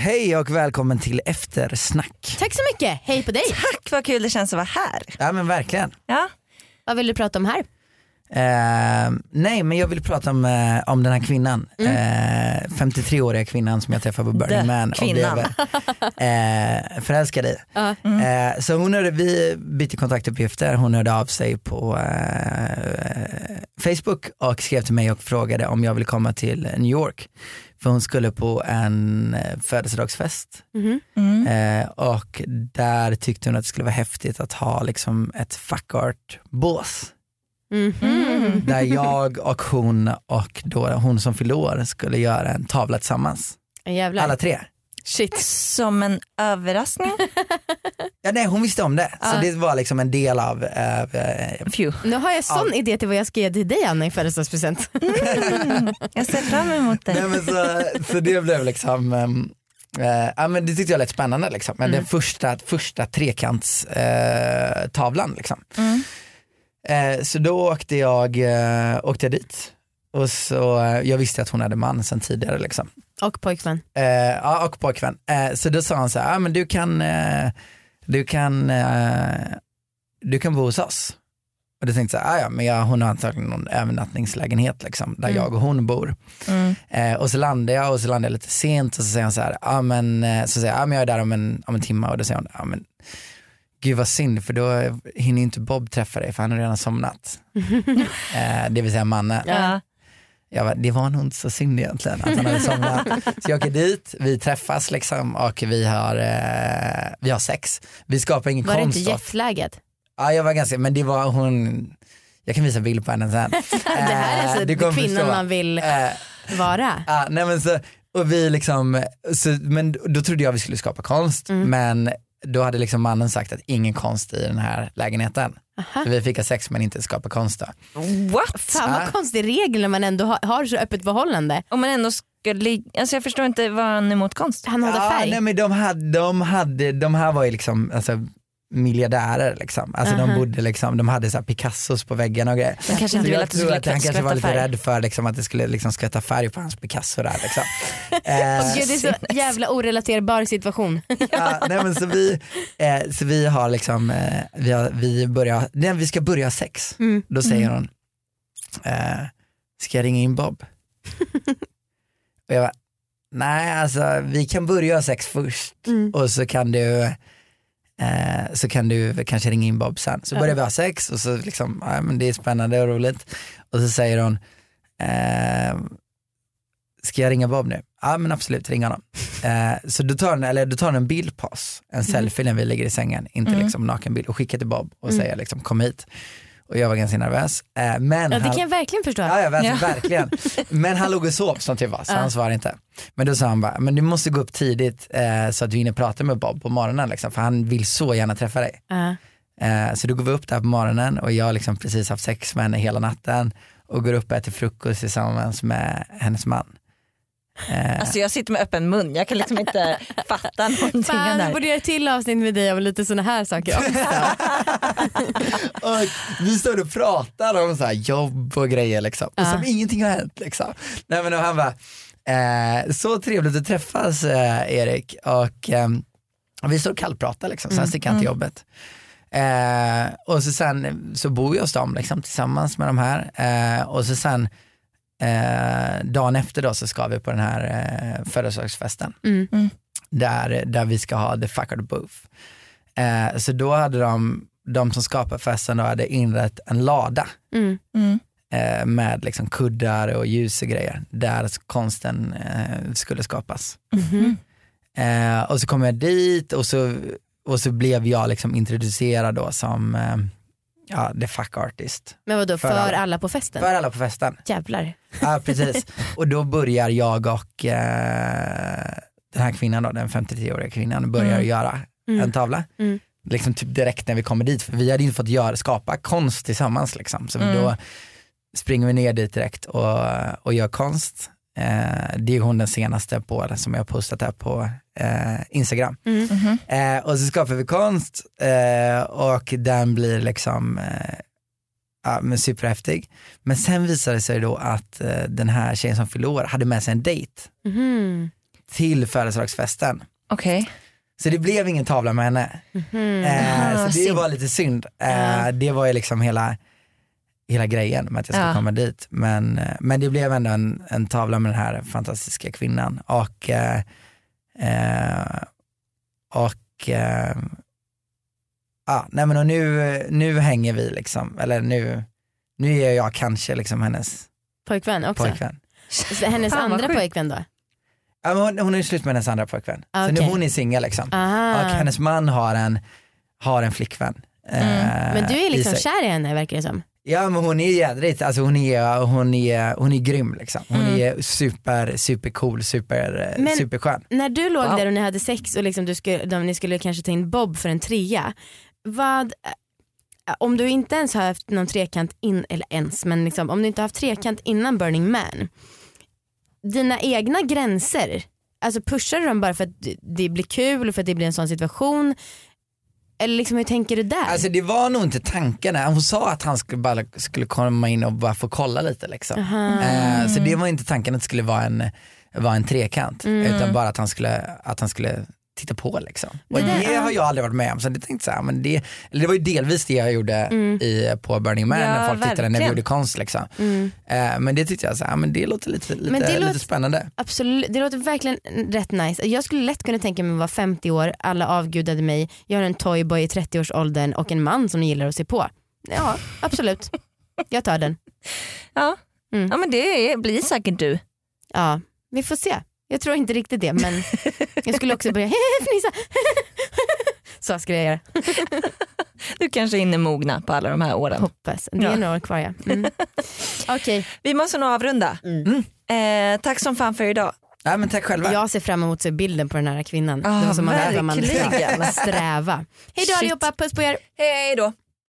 Hej och välkommen till eftersnack. Tack så mycket, hej på dig. Tack vad kul det känns att vara här. Ja men verkligen. Ja. Vad vill du prata om här? Eh, nej men jag vill prata om, eh, om den här kvinnan. Eh, 53-åriga kvinnan som jag träffade på Burning Den Man. kvinnan. Och blev, eh, förälskad i. Ja. Eh, så hon hörde, vi bytte kontaktuppgifter, hon hörde av sig på eh, Facebook och skrev till mig och frågade om jag ville komma till New York. För hon skulle på en eh, födelsedagsfest Mhm. Mm. Eh, och där tyckte hon att det skulle vara häftigt att ha liksom ett fuck art bås Mhm. där jag och hon och då hon som fyllde år skulle göra en tavla tillsammans. Jävlar. Alla tre. Shit. Som en överraskning. Ja, nej, hon visste om det, så Ja. det var liksom en del av, av eh, Phew. Nu har jag sån idé till vad jag ska ge till dig Anna i födelsedagspresent. Mm. Jag ser fram emot Nej, det. men så, så det blev liksom, ehm, eh, ja, men det tyckte jag lät spännande liksom. Men den första, första trekantstavlan eh, tavlan liksom. Mm. Eh, så då åkte jag, eh, åkte jag dit. Och så, eh, jag visste att hon hade man sen tidigare liksom. Och pojkvän. Eh, ja, och pojkvän. Eh, så då sa han så här, ah, men du kan, eh, du kan, eh, du kan bo hos oss. Och då tänkte jag så här, ah, ja men jag, hon har antagligen någon övernattningslägenhet liksom, där jag och hon bor. Mm. Eh, och så landar jag och så landar jag lite sent och så säger han så här, ah, men, eh, så säger jag, ah, men jag är där om en, om en timme och då säger hon, ah, men, gud vad synd för då hinner ju inte Bob träffa dig för han har redan somnat. eh, det vill säga mannen. Ja. Jag bara, det var nog inte så synd egentligen att han hade somnat. Så jag åker dit, vi träffas liksom och vi har, eh, vi har sex. Vi skapar ingen Var det inte konst. då. jetlaget? Ja, jag var ganska, men det var hon, jag kan visa bild på henne sen. Det här är alltså Eh, du kommer kvinnan förstå. man vill Eh, vara. Ja, Ah, nej men så, och vi liksom, så, men då trodde jag vi skulle skapa konst Mm. men då hade liksom mannen sagt att ingen konst i den här lägenheten. Så vi fick ha sex men inte skapa konst då. What? Fan Ja. vad konstig regel när man ändå har, har så öppet förhållande. Om man ändå skulle... Alltså jag förstår inte vad han är emot konst. Han hade Ja, färg. Ah, nej men de, hade, de, hade, de här var ju liksom alltså, miljardärer liksom. Alltså de bodde liksom, de hade så här Picassos på väggarna och grejer. Han kanske inte Så vill jag att du tror skulle att han kanske var skvätta lite färg. rädd för liksom, att det skulle liksom, skvätta färg på hans Picasso där liksom. Eh, Gud, det är så jävla orelaterbar situation. Ja, nej men så vi, eh, så vi har liksom, eh, vi, har, vi börjar, nej, vi ska börja sex. Mm. Då säger hon, eh, ska jag ringa in Bob? och jag bara, nej alltså vi kan börja sex först Mm. och så kan du eh, så kan du kanske ringa in Bob sen. Så börjar vi ha sex och så liksom, ja, men det är spännande och roligt. Och så säger hon, eh, ska jag ringa Bob nu? Ja men absolut, ring honom. Eh, så då tar, hon, eller, då tar hon en bild på oss, en Mm. selfie när vi ligger i sängen, inte liksom nakenbild och skickar till Bob och Mm. säger liksom kom hit. Och jag var ganska nervös. Eh, men Ja, det han, kan jag verkligen förstå. ja, ja, Ja. verkligen, verkligen. Men han låg och sov som tur var så han svarade inte. Men då sa han bara, men du måste gå upp tidigt eh, så att du hinner prata med Bob på morgonen liksom, för han vill så gärna träffa dig. Ja. Eh, så då går vi upp där på morgonen och jag har liksom precis haft sex med henne hela natten och går upp och äter frukost tillsammans med hennes man. Alltså jag sitter med öppen mun, jag kan liksom inte fatta någonting av Fan, det jag här. borde göra ett till avsnitt med dig om lite sådana här saker. Och vi står och pratar om så här jobb och grejer liksom. Och som ingenting har hänt liksom. Nej, men och han bara, eh, så trevligt att träffas eh, Erik. Och ehm, vi står och kallpratar liksom, sen sticker han till jobbet. Eh, och så sen så bor jag hos dem liksom, tillsammans med de här. Eh, och så sen eh, dagen efter då så ska vi på den här eh, födelsedagsfesten. Mm. Mm. Där, där vi ska ha the fuckard booth. Eh, så då hade de, de som skapade festen då hade inrett en lada Mm. Mm. eh, med liksom kuddar och ljus och grejer där konsten eh, skulle skapas. Mm. Mhm. Eh, och så kom jag dit och så, och så blev jag liksom introducerad då som eh, ja, the fuck artist. Men vadå, för, För alla. alla på festen? För alla på festen. Jävlar. Ja precis. Och då börjar jag och eh, den här kvinnan då, den 53-åriga kvinnan, börjar Mm. göra Mm. en tavla. Mm. Liksom typ direkt när vi kommer dit, för vi hade inte fått göra, skapa konst tillsammans liksom. Så Mm. då springer vi ner dit direkt och, och gör konst. Eh, det är hon den senaste på, som jag har postat här på eh, Instagram. Mm. Mhm. Eh, och så skapar vi konst eh, och den blir liksom eh, ja, men superhäftig. Men sen visade det sig då att eh, den här tjejen som fyllde år hade med sig en dejt. Mhm. till födelsedagsfesten. Okej. Så det blev ingen tavla med henne. mhm. Mm. Eh, så Ah, det synd. var lite synd. Eh, Det var ju liksom hela, hela grejen med att jag skulle Ja. komma dit. Men, eh, men det blev ändå en, en tavla med den här fantastiska kvinnan. Och, eh, eh, och, eh, ah, nej men och nu, nu hänger vi liksom, eller nu, nu är jag kanske liksom hennes Pojkvän också? pojkvän. Så Hennes Fan, vad andra sjukt. pojkvän då? Ja, men hon, hon är ju slut med hennes andra pojkvän. Så nu Okej. Ah. hon är singel liksom. Aha. Och hennes man har en, har en flickvän. eh, Mm. Men du är i liksom sig. kär i henne verkar det som. Ja men hon är jädrigt, alltså hon är, hon är, hon är grym liksom. Hon är super, supercool, super, Mm. Men- superskön. När du låg Wow. där och ni hade sex och liksom du skulle, de, ni skulle kanske ta in Bob för en trea. Vad, eh, om du inte ens har haft någon trekant in, eller ens men liksom, om du inte har haft trekant innan Burning Man. Dina egna gränser, alltså pushar du dem bara för att det- det blir kul och för att det blir en sån situation? Eller liksom hur tänker du där? Alltså det var nog inte tanken, hon sa att han skulle, bara, skulle komma in och bara få kolla lite liksom. Aha. Eh, så det var inte tanken att det skulle vara en, vara en trekant Mm. utan bara att han skulle, att han skulle titta på liksom. Och Det det, där- har jag aldrig varit med om så det tänkte så här, men det, eller det var ju delvis det jag gjorde i, på Burning Man Ja, när folk tittade när vi verkligen. gjorde konst liksom. Mm. Eh, men det tyckte jag så här, men det låter lite, lite, Men det lite låter- spännande. Absolut, det låter verkligen rätt nice. Jag skulle lätt kunna tänka mig att vara 50 år, alla avgudade mig, jag har en toyboy i 30-årsåldern och en man som gillar att se på. Ja, absolut. Jag tar den. Ja. Mm. ja men det är- blir säkert du. Ja, vi får se. Jag tror inte riktigt det men jag skulle också börja fnissa. Så skulle jag göra. Du kanske hinner mogna på alla de här åren. Hoppas. Det är Ja. några år kvar ja. Mm. Okej, Vi måste nog avrunda. Mm. Eh, tack som fan för idag. Ja, men tack själva. jag ser fram emot se bilden på den här kvinnan. Ah, det var som man, man, man, verkligen. man sträva. Hej då Shit. allihopa, puss på er. Hej då.